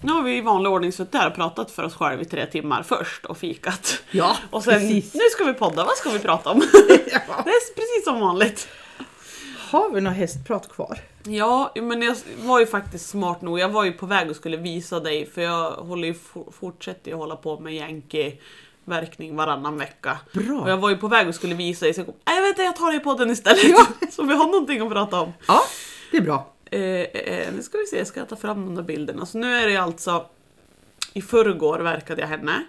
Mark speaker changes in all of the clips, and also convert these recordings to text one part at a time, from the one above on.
Speaker 1: Nu har vi i vanlig ordning suttit här och pratat för oss själva i tre timmar först och fikat.
Speaker 2: Ja,
Speaker 1: Och sen,
Speaker 2: precis.
Speaker 1: nu ska vi podda, vad ska vi prata om? Det är precis som vanligt.
Speaker 2: Har vi något hästprat kvar?
Speaker 1: Ja, men jag var ju faktiskt smart nog. Jag var ju på väg och skulle visa dig för jag håller ju, for- fortsätter ju hålla på med Yankee-verkning varannan vecka.
Speaker 2: Bra.
Speaker 1: Och jag var ju på väg och skulle visa dig så jag kom, "Nej, jag vet inte, jag tar det i podden istället. Så vi har någonting att prata om.
Speaker 2: Ja, det är bra.
Speaker 1: Eh, eh, nu ska vi se, ska jag ta fram de där bilderna. Så nu är det alltså, i förrgår verkade jag henne.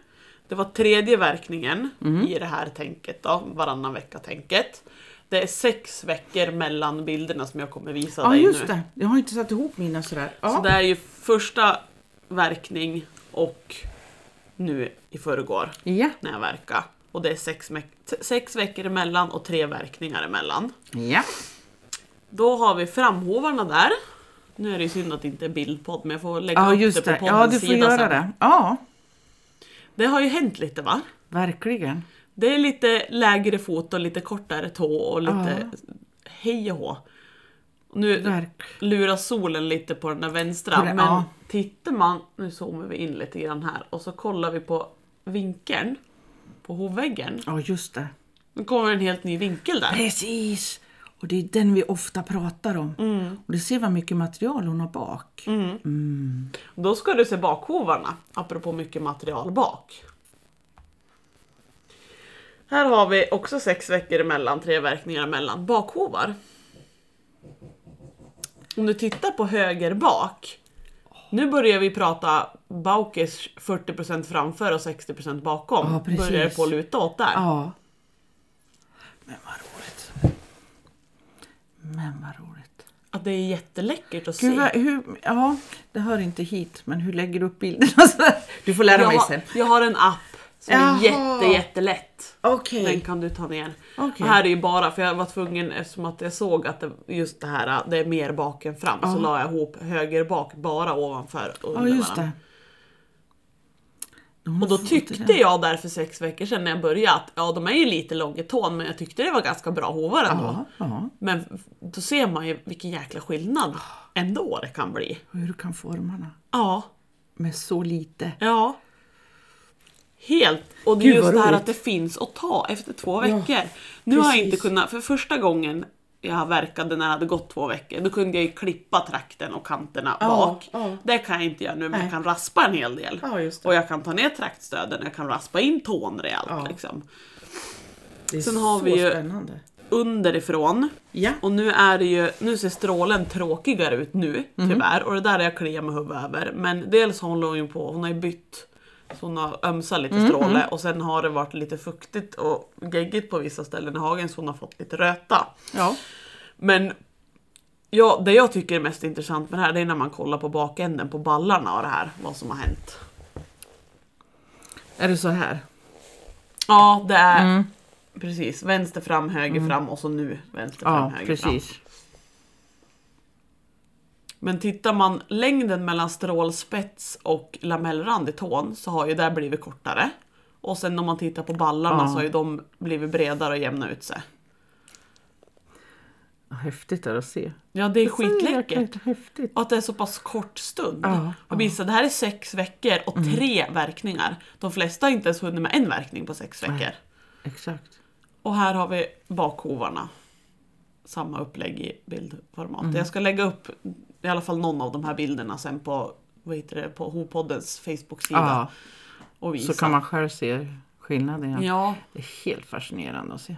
Speaker 1: Det var tredje verkningen
Speaker 2: Mhm.
Speaker 1: i det här tänket då, varannan vecka-tänket. Det är sex veckor mellan bilderna som jag kommer visa
Speaker 2: Ja,
Speaker 1: dig nu.
Speaker 2: just det. Jag har inte satt ihop mina sådär. Ja.
Speaker 1: Så det är ju första verkning och nu i förrgår
Speaker 2: Ja.
Speaker 1: när jag verkade. Och det är sex, me- sex veckor emellan och tre verkningar emellan.
Speaker 2: ja.
Speaker 1: Då har vi framhovarna där. Nu är det ju synd att det inte är bildpodd men jag får lägga
Speaker 2: Ja,
Speaker 1: upp
Speaker 2: just
Speaker 1: det på
Speaker 2: det.
Speaker 1: poddens
Speaker 2: Ja, du får
Speaker 1: sida
Speaker 2: göra
Speaker 1: sen.
Speaker 2: det. Ja,
Speaker 1: Det har ju hänt lite va?
Speaker 2: verkligen.
Speaker 1: Det är lite lägre fot och lite kortare tå och lite hej och hå. Nu
Speaker 2: Verk.
Speaker 1: lurar solen lite på den där vänstra
Speaker 2: På det-
Speaker 1: men
Speaker 2: ja.
Speaker 1: tittar man, nu zoomar vi in lite grann här och så kollar vi på vinkeln på hovväggen.
Speaker 2: Ja, just det.
Speaker 1: Nu kommer en helt ny vinkel där.
Speaker 2: Precis! Och det är den vi ofta pratar om.
Speaker 1: Mm.
Speaker 2: Och du ser vad mycket material hon har bak.
Speaker 1: Då ska du se bakhovarna, apropå mycket material bak. Här har vi också sex veckor emellan, tre verkningar emellan, bakhovar. Om du tittar på höger bak, nu börjar vi prata Baukes 40% framför och 60% bakom.
Speaker 2: Ja, precis.
Speaker 1: börjar på att luta åt där.
Speaker 2: Ja. Men vad roligt. Men vad roligt.
Speaker 1: Att det är jätteläckert att
Speaker 2: Gud,
Speaker 1: se.
Speaker 2: vad, hur, ja, det hör inte hit, men hur lägger du upp bilderna? så där? Du får lära
Speaker 1: jag,
Speaker 2: mig
Speaker 1: har,
Speaker 2: sen.
Speaker 1: jag har en app som
Speaker 2: Jaha.
Speaker 1: är jätte, jättelätt.
Speaker 2: Okej.
Speaker 1: Den kan du ta ner.
Speaker 2: Okej.
Speaker 1: Och här är ju bara, för jag var tvungen eftersom att jag såg att det, just det här, det är mer bak än fram. Så la jag ihop höger bak bara ovanför och
Speaker 2: Ja,
Speaker 1: under
Speaker 2: just
Speaker 1: varandra.
Speaker 2: det. Hon
Speaker 1: Och då
Speaker 2: får
Speaker 1: tyckte
Speaker 2: det.
Speaker 1: jag där för sex veckor sedan när jag började att ja de är ju lite lång i tån men jag tyckte det var ganska bra hovar ändå.
Speaker 2: Ja, ja.
Speaker 1: Men då ser man ju vilken jäkla skillnad
Speaker 2: Ah.
Speaker 1: ändå det kan bli.
Speaker 2: Hur du kan formarna
Speaker 1: Ja,
Speaker 2: med så lite.
Speaker 1: Ja. Helt. Och det är
Speaker 2: Gud,
Speaker 1: just
Speaker 2: vad
Speaker 1: det här
Speaker 2: roligt.
Speaker 1: att det finns att ta efter två veckor. nu har jag inte
Speaker 2: precis.
Speaker 1: kunnat, för första gången jag verkade när det hade gått två veckor, då kunde jag ju klippa trakten och kanterna
Speaker 2: Ja,
Speaker 1: bak.
Speaker 2: ja.
Speaker 1: Det kan jag inte göra nu, men
Speaker 2: Nej.
Speaker 1: jag kan raspa en hel del.
Speaker 2: Ja, just det.
Speaker 1: Och jag kan ta ner traktstöden, jag kan raspa in tån rejält.
Speaker 2: Ja.
Speaker 1: Liksom.
Speaker 2: Det är
Speaker 1: Sen har
Speaker 2: så
Speaker 1: vi ju-
Speaker 2: spännande.
Speaker 1: Underifrån.
Speaker 2: Ja.
Speaker 1: Och nu är det ju, nu ser strålen tråkigare ut nu
Speaker 2: Mhm.
Speaker 1: tyvärr och det där är jag kliar mig huvudet över. Men dels håller hon ju på, hon har ju bytt. Så hon har ömsat
Speaker 2: Mm,
Speaker 1: lite stråle och sen har det varit lite fuktigt och geggigt på vissa ställen i hagen så hon har fått lite röta.
Speaker 2: Ja.
Speaker 1: Men ja, det jag tycker är mest intressant med det här det är när man kollar på bakänden på ballarna och det här, vad som har hänt.
Speaker 2: Är det så här?
Speaker 1: Ja, det är
Speaker 2: Mm.
Speaker 1: precis vänster fram, höger fram och så nu vänster fram,
Speaker 2: Ja,
Speaker 1: höger fram.
Speaker 2: precis.
Speaker 1: Men tittar man längden mellan strålspets och lamellrand i tån så har ju där blivit kortare. Och sen om man tittar på ballarna
Speaker 2: Ja.
Speaker 1: så har ju de blivit bredare och jämna ut sig.
Speaker 2: Ja, Häftigt är det att se.
Speaker 1: Ja det är
Speaker 2: Så
Speaker 1: skitläckert.
Speaker 2: jäkla Häftigt.
Speaker 1: Och att det är så pass kort stund.
Speaker 2: Ja, Mm.
Speaker 1: och vissa, det här är sex veckor och tre verkningar. De flesta har inte ens hunnit med en verkning på sex veckor.
Speaker 2: Exakt.
Speaker 1: Och här har vi bakhovarna. Samma upplägg i bildformat.
Speaker 2: Mm.
Speaker 1: Jag ska lägga upp i alla fall någon av de här bilderna sen på, vad heter det, på Hopoddens Facebook-sida.
Speaker 2: Ja,
Speaker 1: och visa.
Speaker 2: så kan man själv se skillnaden. Ja.
Speaker 1: Ja,
Speaker 2: Det är helt fascinerande att se.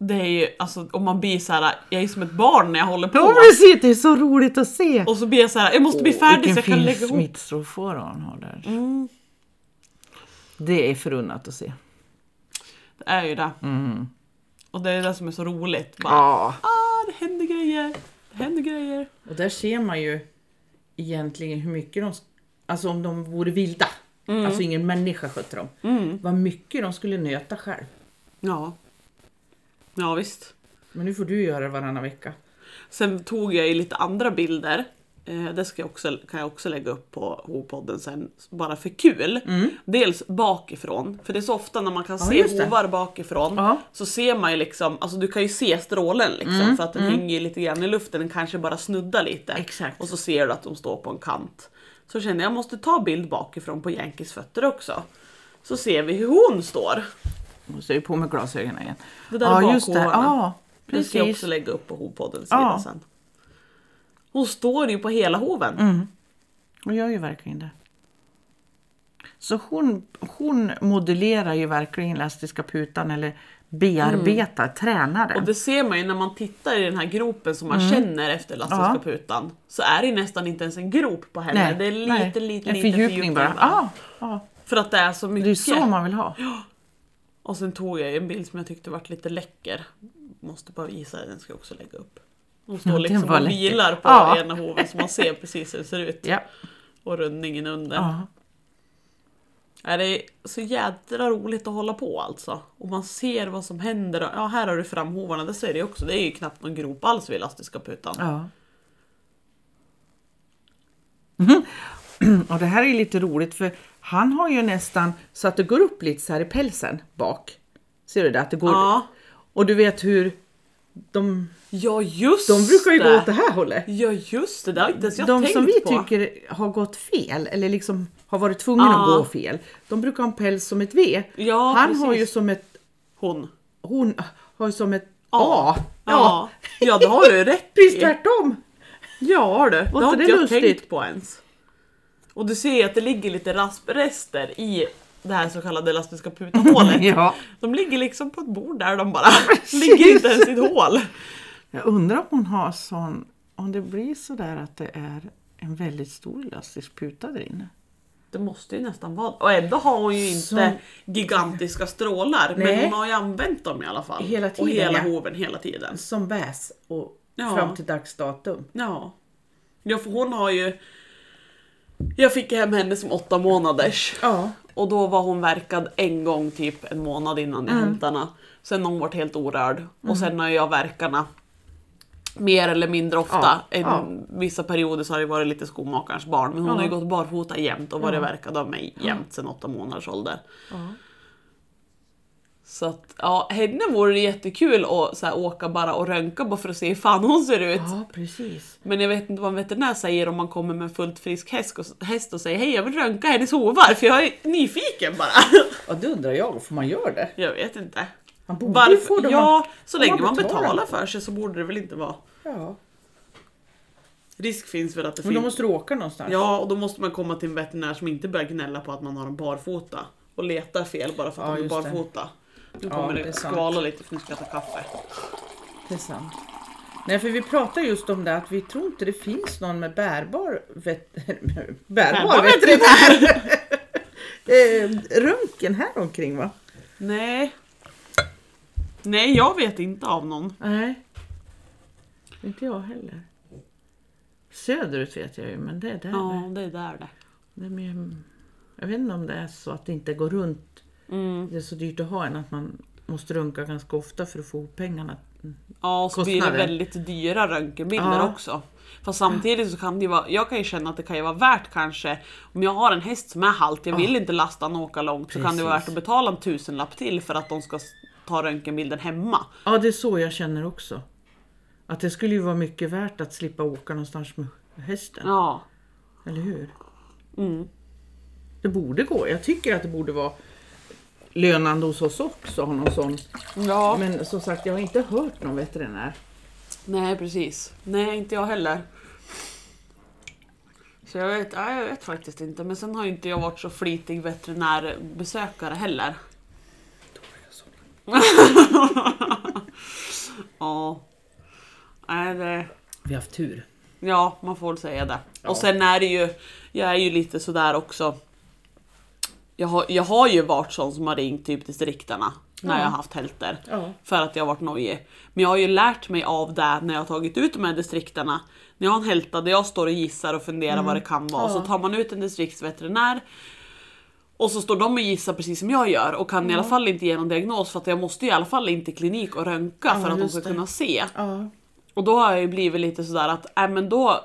Speaker 1: det är ju alltså om man blir så här. jag är som ett barn när jag håller på.
Speaker 2: Ja, precis! Det är så roligt att se!
Speaker 1: Och så blir jag så här. jag måste bli färdig
Speaker 2: Vilken
Speaker 1: så jag kan
Speaker 2: fin
Speaker 1: lägga ihop.
Speaker 2: smittstrålfåra hon har där. Det är förunnat att se.
Speaker 1: Det är ju det. Och det är det som är så roligt. Bara,
Speaker 2: Mm. Ja.
Speaker 1: ah, det händer grejer. Det händer grejer.
Speaker 2: Och där ser man ju egentligen hur mycket de, alltså om de vore vilda,
Speaker 1: Mm.
Speaker 2: alltså ingen människa skötte dem, vad mycket de skulle nöta själv.
Speaker 1: Ja. Ja visst.
Speaker 2: Men nu får du göra det varannan vecka.
Speaker 1: Sen tog jag ju lite andra bilder Eh, det ska jag också, kan jag också lägga upp på Hovpodden sen, bara för kul. Dels bakifrån, för det är så ofta när man kan se
Speaker 2: Mm. just det.
Speaker 1: hovar bakifrån
Speaker 2: Ja. Mm,
Speaker 1: så ser man ju liksom, alltså du kan ju se strålen liksom för att den hänger ju lite grann i luften, den kanske bara snuddar lite.
Speaker 2: Exakt.
Speaker 1: Och så ser du att de står på en kant. Så känner jag, jag måste ta bild bakifrån på Yankees fötter också. Så ser vi hur hon står.
Speaker 2: Måste jag ju på med glasögonen igen.
Speaker 1: Det där är
Speaker 2: ja,
Speaker 1: bakhåvarna.
Speaker 2: just det. Ja,
Speaker 1: Det ska jag
Speaker 2: precis.
Speaker 1: också lägga upp på Hovpoddens
Speaker 2: Ja.
Speaker 1: sida sen. Hon står ju på hela hoven.
Speaker 2: Hon gör ju verkligen det. Så hon, hon modellerar ju verkligen elastiska putan eller bearbetar, tränar
Speaker 1: Mm. Och
Speaker 2: den.
Speaker 1: det ser man ju när man tittar i den här gropen som man känner efter elastiska
Speaker 2: Mm. Ja.
Speaker 1: putan. Så är det ju nästan inte ens en grop på henne. det är lite,
Speaker 2: nej.
Speaker 1: lite, lite
Speaker 2: En fördjupning bara. Ja, ja.
Speaker 1: För att det är så mycket.
Speaker 2: Det är ju så man vill ha.
Speaker 1: Och sen tog jag ju en bild som jag tyckte var lite läcker. Måste bara visa dig, den ska jag också lägga upp. Hon står
Speaker 2: den
Speaker 1: liksom
Speaker 2: var
Speaker 1: och
Speaker 2: läcker.
Speaker 1: vilar på
Speaker 2: Ja.
Speaker 1: ena hoven så man ser precis hur det ser ut.
Speaker 2: Ja.
Speaker 1: Och rundningen under.
Speaker 2: Ja.
Speaker 1: Ja, det är så jädra roligt att hålla på alltså. Och man ser vad som händer. Ja, här har du framhovarna, det ser jag också. Det är ju knappt någon grop alls vid elastiska putan.
Speaker 2: ja. Mhm. Och det här är lite roligt för han har ju nästan så att det går upp lite så här i pälsen bak. Ser du det? Att det går...
Speaker 1: Ja.
Speaker 2: Och du vet hur de,
Speaker 1: Ja, just
Speaker 2: de brukar ju
Speaker 1: det!
Speaker 2: gå åt det här hållet.
Speaker 1: Ja, just det. Det har inte ens jag
Speaker 2: de
Speaker 1: tänkt
Speaker 2: som vi
Speaker 1: på.
Speaker 2: tycker har gått fel, eller liksom har varit tvungna
Speaker 1: Ja.
Speaker 2: att gå fel, de brukar ha en päls som ett V.
Speaker 1: Ja,
Speaker 2: Han
Speaker 1: precis.
Speaker 2: har ju som ett,
Speaker 1: Hon.
Speaker 2: hon har ju som ett
Speaker 1: Ja.
Speaker 2: A.
Speaker 1: Ja. Ja, det har du rätt
Speaker 2: Precis
Speaker 1: i.
Speaker 2: tvärtom!
Speaker 1: Ja du, det
Speaker 2: inte
Speaker 1: har
Speaker 2: det
Speaker 1: inte jag
Speaker 2: lustigt?
Speaker 1: tänkt på ens. Och du ser ju att det ligger lite rasprester i det här så kallade elastiska putahålet.
Speaker 2: Ja.
Speaker 1: De ligger liksom på ett bord där de bara ligger inte ens i ett hål.
Speaker 2: Jag undrar om hon har sån, om det blir sådär att det är en väldigt stor elastisk puta där inne.
Speaker 1: Det måste ju nästan vara Och ändå har hon ju inte
Speaker 2: Som-
Speaker 1: gigantiska strålar. Men
Speaker 2: Nej.
Speaker 1: hon har ju använt dem i alla fall.
Speaker 2: Hela
Speaker 1: och
Speaker 2: tiden,
Speaker 1: hela
Speaker 2: ja.
Speaker 1: hoven hela tiden.
Speaker 2: Som väs och
Speaker 1: Ja.
Speaker 2: fram till dags datum.
Speaker 1: Ja. Ja för hon har ju... Jag fick hem henne som åtta månaders.
Speaker 2: Ja.
Speaker 1: Och då var hon verkad en gång typ en månad innan jag
Speaker 2: Mm.
Speaker 1: hämtade henne. Sen har hon varit helt orörd. Och sen har jag verkarna mer eller mindre ofta.
Speaker 2: Ja,
Speaker 1: En,
Speaker 2: ja.
Speaker 1: Vissa perioder så har det varit lite skomakarens barn. Men hon
Speaker 2: Ja.
Speaker 1: har ju gått barfota jämt och varit verkad av mig jämt sedan åtta månaders ålder. Så att ja, henne vore det jättekul att så här, åka bara och röntga bara för att se hur fan hon ser ut.
Speaker 2: Ja, precis.
Speaker 1: Men jag vet inte vad en veterinär säger om man kommer med en fullt frisk häst och, häst och säger hej jag vill röntga hennes hovar för jag är nyfiken bara.
Speaker 2: Ja, det undrar jag, varför man gör det?
Speaker 1: Jag vet inte.
Speaker 2: Man borde ju få
Speaker 1: Varför?
Speaker 2: dem
Speaker 1: Ja, så
Speaker 2: om man
Speaker 1: länge man
Speaker 2: betalar.
Speaker 1: betalar för sig så borde det väl inte vara.
Speaker 2: Ja.
Speaker 1: Risk finns väl att det
Speaker 2: Men då
Speaker 1: finns.
Speaker 2: måste du åka någonstans.
Speaker 1: Ja, och då måste man komma till en veterinär som inte börjar gnälla på att man har en barfota och letar fel bara för att
Speaker 2: Ja,
Speaker 1: de är
Speaker 2: just det.
Speaker 1: barfota. Nu
Speaker 2: Ja,
Speaker 1: kommer
Speaker 2: det
Speaker 1: det
Speaker 2: är sant.
Speaker 1: skvala lite för nu ska jag ta kaffe.
Speaker 2: Det är sant. Nej, för vi pratar just om det att vi tror inte det finns någon med bärbar vet... bärbar,
Speaker 1: Bärbar
Speaker 2: veterinär. eh, röntgen här omkring va?
Speaker 1: Nej. Nej, jag vet inte av någon.
Speaker 2: Nej. Inte jag heller. Söderut vet jag ju, men det är där.
Speaker 1: Ja, det är där det.
Speaker 2: det är mer, jag vet inte om det är så att det inte går runt. Det är så dyrt att ha en att man måste röntga ganska ofta för att få ihop pengarna.
Speaker 1: Ja, och så blir det
Speaker 2: Kostnader.
Speaker 1: väldigt dyra röntgenbilder
Speaker 2: Ja.
Speaker 1: också. Fast samtidigt så kan det ju vara, jag kan ju känna att det kan ju vara värt kanske, om jag har en häst som är halt, jag vill inte lasta den och åka långt, så kan det vara värt
Speaker 2: Precis.
Speaker 1: att betala en tusenlapp till för att de ska s- ta röntgenbilden hemma.
Speaker 2: Ja, det är så jag känner också. Att det skulle ju vara mycket värt att slippa åka någonstans med hästen.
Speaker 1: Ja.
Speaker 2: Eller hur? Mm. Det borde gå. Jag tycker att det borde vara lönande hos oss också. ha Någon sån.
Speaker 1: ja.
Speaker 2: Men som sagt, jag har inte hört någon veterinär.
Speaker 1: Nej, precis. Nej, inte jag heller. Så jag vet, nej, jag vet faktiskt inte, men sen har ju inte jag varit så flitig veterinärbesökare heller. Ja. Nej, det...
Speaker 2: Vi har haft tur.
Speaker 1: Ja, man får väl säga det.
Speaker 2: Ja.
Speaker 1: Och sen är det ju, jag är ju lite sådär också. Jag har, jag har ju varit sån som har ringt typ distriktarna när
Speaker 2: Ja.
Speaker 1: jag har haft hälter.
Speaker 2: Ja.
Speaker 1: För att jag har varit nojig. Men jag har ju lärt mig av det när jag har tagit ut de här distriktarna. När jag har en hälta där jag står och gissar och funderar vad det kan vara.
Speaker 2: Ja.
Speaker 1: Så tar man ut en distriktsveterinär och så står de och gissar precis som jag gör och kan i alla fall inte ge någon diagnos för att jag måste i alla fall in till klinik och röntga
Speaker 2: Ja,
Speaker 1: för att de
Speaker 2: just
Speaker 1: ska
Speaker 2: det.
Speaker 1: kunna se.
Speaker 2: Ja.
Speaker 1: Och då har jag ju blivit lite sådär att, äh, men då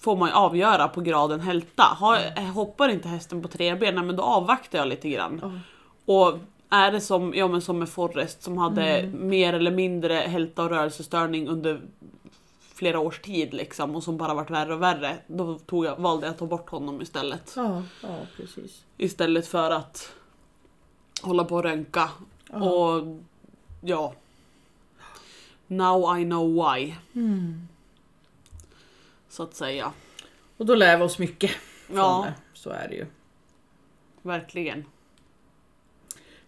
Speaker 1: får man ju avgöra på graden hälta. Har,
Speaker 2: Mm.
Speaker 1: Hoppar inte hästen på tre ben, nej, men då avvaktar jag lite grann. Och är det som, ja, men som med Forrest som hade
Speaker 2: Mm.
Speaker 1: mer eller mindre hälta och rörelsestörning under flera års tid liksom, och som bara varit värre och värre. Då tog jag, valde jag att ta bort honom istället.
Speaker 2: Ja, ja precis.
Speaker 1: Istället för att hålla på och rönka. Och ja. Now I know why.
Speaker 2: Mm.
Speaker 1: Så att säga.
Speaker 2: Och då lär vi oss mycket. från
Speaker 1: Ja.
Speaker 2: det. Så är det ju.
Speaker 1: Verkligen.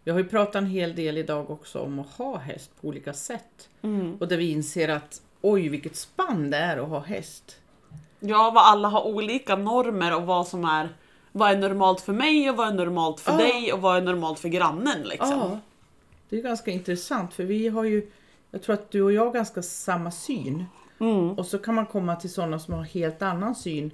Speaker 2: Vi har ju pratat en hel del idag också om att ha häst på olika sätt. Och där vi inser att oj vilket spann det är att ha häst.
Speaker 1: Ja, vad alla har olika normer och vad som är vad är normalt för mig och vad är normalt för
Speaker 2: Ja.
Speaker 1: dig och vad är normalt för grannen liksom.
Speaker 2: Ja. Det är ganska intressant för vi har ju, jag tror att du och jag har ganska samma syn.
Speaker 1: Mm.
Speaker 2: Och så kan man komma till sådana som har helt annan syn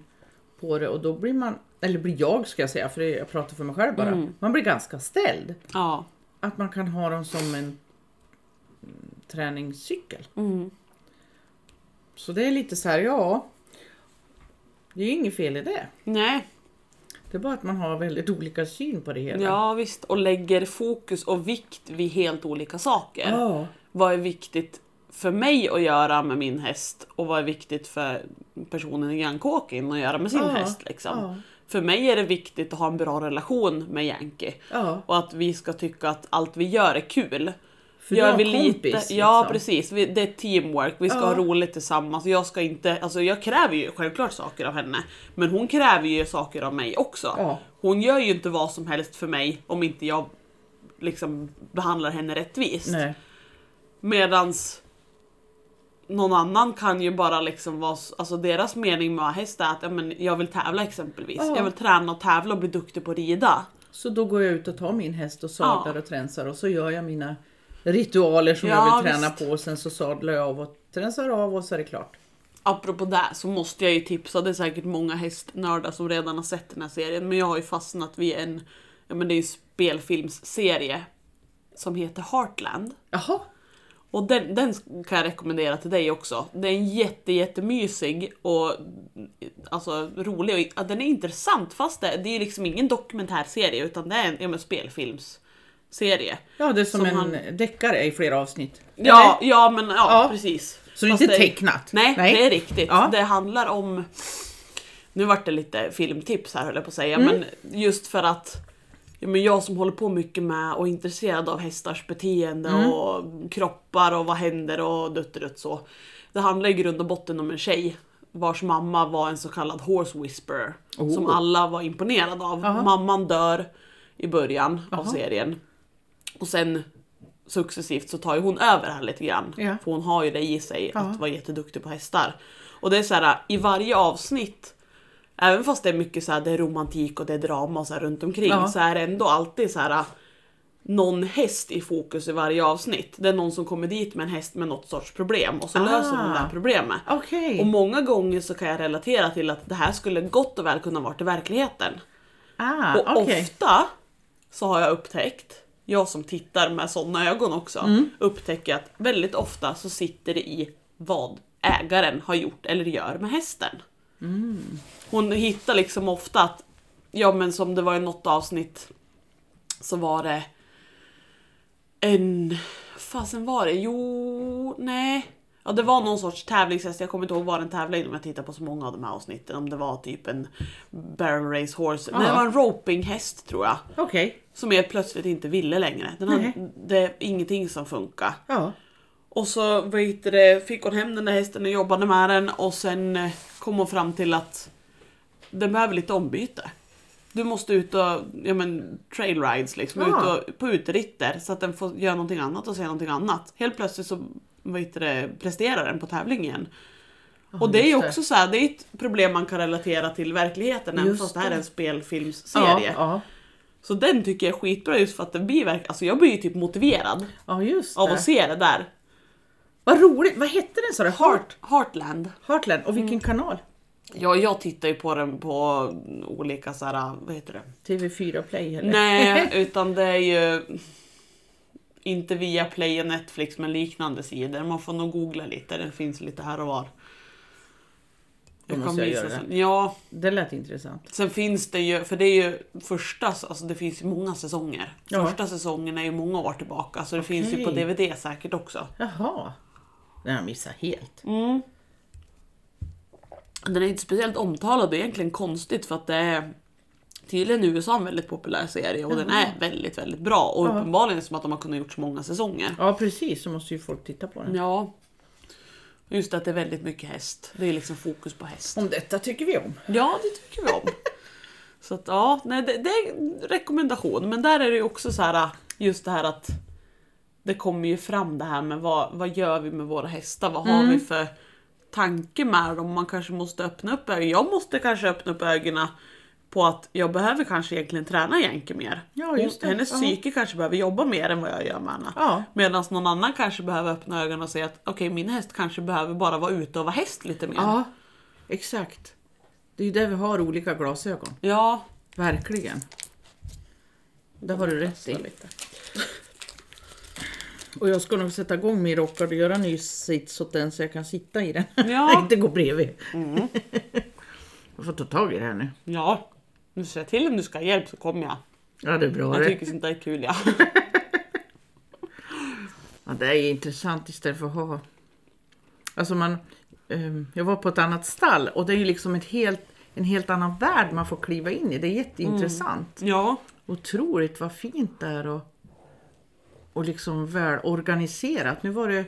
Speaker 2: på det och då blir man, eller blir jag ska jag säga, för det- jag pratar för mig själv bara.
Speaker 1: Mm.
Speaker 2: Man blir ganska ställd.
Speaker 1: ja.
Speaker 2: Att man kan ha dem som en mm, träningscykel.
Speaker 1: Mm.
Speaker 2: Så det är lite så här, ja. Det är ju inget fel i det.
Speaker 1: Nej,
Speaker 2: Det är bara att man har väldigt olika syn på det hela.
Speaker 1: ja visst. Och lägger fokus och vikt vid helt olika saker.
Speaker 2: Ja.
Speaker 1: Vad är viktigt för mig att göra med min häst och vad är viktigt för personen i grannkåken att göra med sin
Speaker 2: Ja,
Speaker 1: häst. Liksom.
Speaker 2: ja.
Speaker 1: För mig är det viktigt att ha en bra relation med Yankee.
Speaker 2: ja.
Speaker 1: Och att vi ska tycka att allt vi gör är kul.
Speaker 2: För
Speaker 1: Gör
Speaker 2: du har
Speaker 1: vi
Speaker 2: kompis,
Speaker 1: lite, Ja
Speaker 2: liksom.
Speaker 1: precis, vi, det är teamwork, vi ska
Speaker 2: Ja.
Speaker 1: ha roligt tillsammans. Jag, ska inte, alltså jag kräver ju självklart saker av henne, men hon kräver ju saker av mig också.
Speaker 2: Ja.
Speaker 1: Hon gör ju inte vad som helst för mig om inte jag liksom behandlar henne rättvist.
Speaker 2: Nej.
Speaker 1: Medans någon annan kan ju bara liksom vara, s- alltså deras mening med att ha häst är att ja, men jag vill tävla exempelvis.
Speaker 2: Ja.
Speaker 1: Jag vill träna och tävla och bli duktig på att rida.
Speaker 2: Så då går jag ut och tar min häst och sadlar
Speaker 1: Ja.
Speaker 2: och tränsar och så gör jag mina ritualer som
Speaker 1: Ja,
Speaker 2: jag vill träna
Speaker 1: visst.
Speaker 2: på och sen så sadlar jag av och tränsar av och så är det klart.
Speaker 1: Apropå det så måste jag ju tipsa, det är säkert många hästnördar som redan har sett den här serien, men jag har ju fastnat vid en, ja men det är ju en spelfilmsserie som heter Heartland.
Speaker 2: Jaha,
Speaker 1: Och den, den kan jag rekommendera till dig också. Den är jätte, jättemysig och alltså, rolig. Och, ja, den är intressant fast det, det är liksom ingen dokumentärserie utan det är en ja, men spelfilmsserie.
Speaker 2: ja det är som,
Speaker 1: Som
Speaker 2: en
Speaker 1: han-
Speaker 2: deckare i flera avsnitt.
Speaker 1: Ja, ja men ja,
Speaker 2: Ja.
Speaker 1: precis.
Speaker 2: Så det är
Speaker 1: Fast
Speaker 2: inte tecknat?
Speaker 1: Nej,
Speaker 2: Nej.
Speaker 1: det är riktigt.
Speaker 2: Ja.
Speaker 1: Det handlar om... Nu vart det lite filmtips här höll jag på att säga,
Speaker 2: Mm.
Speaker 1: men just för att ja, men jag som håller på mycket med och är intresserad av hästars beteende
Speaker 2: Mm.
Speaker 1: och kroppar och vad händer och dutt dutt så. Det handlar i grund och botten om en tjej vars mamma var en så kallad horse whisperer.
Speaker 2: Oh.
Speaker 1: Som alla var imponerade av.
Speaker 2: Aha.
Speaker 1: Mamman dör i början av
Speaker 2: Aha.
Speaker 1: serien. Och sen successivt så tar ju hon över här lite grann.
Speaker 2: Ja.
Speaker 1: För hon har ju det i sig
Speaker 2: Ja.
Speaker 1: att vara jätteduktig på hästar. Och det är så här i varje avsnitt, även fast det är mycket så här, det är romantik och det är drama och så här runt omkring,
Speaker 2: Ja.
Speaker 1: så är det ändå alltid så här någon häst i fokus i varje avsnitt. Det är någon som kommer dit med en häst med något sorts problem och så
Speaker 2: Ah.
Speaker 1: löser de det här problemet.
Speaker 2: Okej.
Speaker 1: Och många gånger så kan jag relatera till att det här skulle gott och väl kunna varit i verkligheten.
Speaker 2: Ah,
Speaker 1: Och
Speaker 2: okej.
Speaker 1: ofta så har jag upptäckt, jag som tittar med sådana ögon också, upptäcker att väldigt ofta så sitter det i vad ägaren har gjort eller gör med hästen. Hon hittar liksom ofta att, ja men som det var i något avsnitt så var det en... Fasen var det? Jo, nej. Ja, det var någon sorts tävlingshäst. Jag kommer inte ihåg vad den tävlade i om jag tittar på så många av de här avsnitten. Om det var typ en barrel race horse. Nej, det
Speaker 2: Ja.
Speaker 1: var en ropinghäst tror jag.
Speaker 2: Okej,
Speaker 1: Som helt plötsligt inte ville längre. Den hade,
Speaker 2: Nej.
Speaker 1: det är ingenting som funkar.
Speaker 2: ja.
Speaker 1: Och så vad heter det, fick hon hem den där hästen och jobbade med den och sen eh, kom hon fram till att den behöver lite ombyte. Du måste ut och, ja men trail rides liksom,
Speaker 2: Ja.
Speaker 1: ut och, på uteritter så att den får göra någonting annat och se någonting annat. Helt plötsligt så vad heter det, presterar den på tävling igen. och det är ju
Speaker 2: just det.
Speaker 1: också så här, det är ett problem man kan relatera till verkligheten även
Speaker 2: Just
Speaker 1: fast det här är
Speaker 2: det.
Speaker 1: en
Speaker 2: Ja,
Speaker 1: spelfilmsserie.
Speaker 2: ja.
Speaker 1: Så den tycker jag är skitbra just för att den blir verkligen, alltså jag blir ju typ motiverad
Speaker 2: ja, just
Speaker 1: av
Speaker 2: det.
Speaker 1: att se det där.
Speaker 2: Vad roligt, vad hette den sa du? Heart.
Speaker 1: Heart, Mm. Heartland.
Speaker 2: Heartland, och vilken kanal?
Speaker 1: Ja, jag tittar ju på den på olika så här, vad heter det?
Speaker 2: TV4 Play eller?
Speaker 1: Nej, utan det är ju inte via Play och Netflix men liknande sidor. Man får nog googla lite, den finns lite här och var.
Speaker 2: Då
Speaker 1: Jag
Speaker 2: måste
Speaker 1: kan
Speaker 2: jag
Speaker 1: visa
Speaker 2: göra det.
Speaker 1: sen. Ja,
Speaker 2: Det lät intressant.
Speaker 1: sen finns det ju, för det är ju första, alltså det finns ju många säsonger.
Speaker 2: Ja.
Speaker 1: Första säsongen är ju många år tillbaka så det finns ju på
Speaker 2: Okej.
Speaker 1: DVD säkert också.
Speaker 2: Jaha. Den har jag missat helt.
Speaker 1: Den är inte speciellt omtalad och egentligen konstigt för att det är tydligen i USA en väldigt populär serie och den är väldigt, väldigt bra. Och uppenbarligen som att de har kunnat gjort så många säsonger.
Speaker 2: Ja precis, så måste ju folk titta på den.
Speaker 1: Ja. Just att det är väldigt mycket häst. Det är liksom fokus på häst.
Speaker 2: Om detta tycker vi om.
Speaker 1: Ja, det tycker vi om. Så att ja, nej, det, det är en rekommendation. Men där är det ju också så här just det här att det kommer ju fram det här med vad, vad gör vi med våra hästar? Vad har
Speaker 2: Mm.
Speaker 1: vi för tanke med dem? Man kanske måste öppna upp ögonen. Jag måste kanske öppna upp ögonen på att jag behöver kanske egentligen träna Jänke mer.
Speaker 2: Ja, just det.
Speaker 1: Hon- Hennes
Speaker 2: Ja.
Speaker 1: psyke kanske behöver jobba mer än vad jag gör med henne.
Speaker 2: Ja.
Speaker 1: Medan någon annan kanske behöver öppna ögonen och säga att okej, min häst kanske behöver bara vara ute och vara häst lite mer.
Speaker 2: Ja, exakt. Det är ju där vi har olika glasögon.
Speaker 1: ja
Speaker 2: Verkligen. Det har du rätt i. Och jag ska nog sätta igång min rockad och göra en ny sits åt den så jag kan sitta i den.
Speaker 1: Ja.
Speaker 2: Inte gå bredvid. Mm. jag får ta tag i det här nu.
Speaker 1: Ja, nu säger jag till om du ska ha hjälp så kommer jag.
Speaker 2: Ja, det är bra
Speaker 1: Jag
Speaker 2: det.
Speaker 1: tycker sånt där är kul ja.
Speaker 2: Ja, det är intressant istället för att ha... Alltså man, ehm, jag var på ett annat stall och det är ju liksom ett helt, en helt annan värld man får kliva in i. Det är jätteintressant.
Speaker 1: Ja,
Speaker 2: Otroligt vad fint det är och, och liksom väl organiserat. Nu var det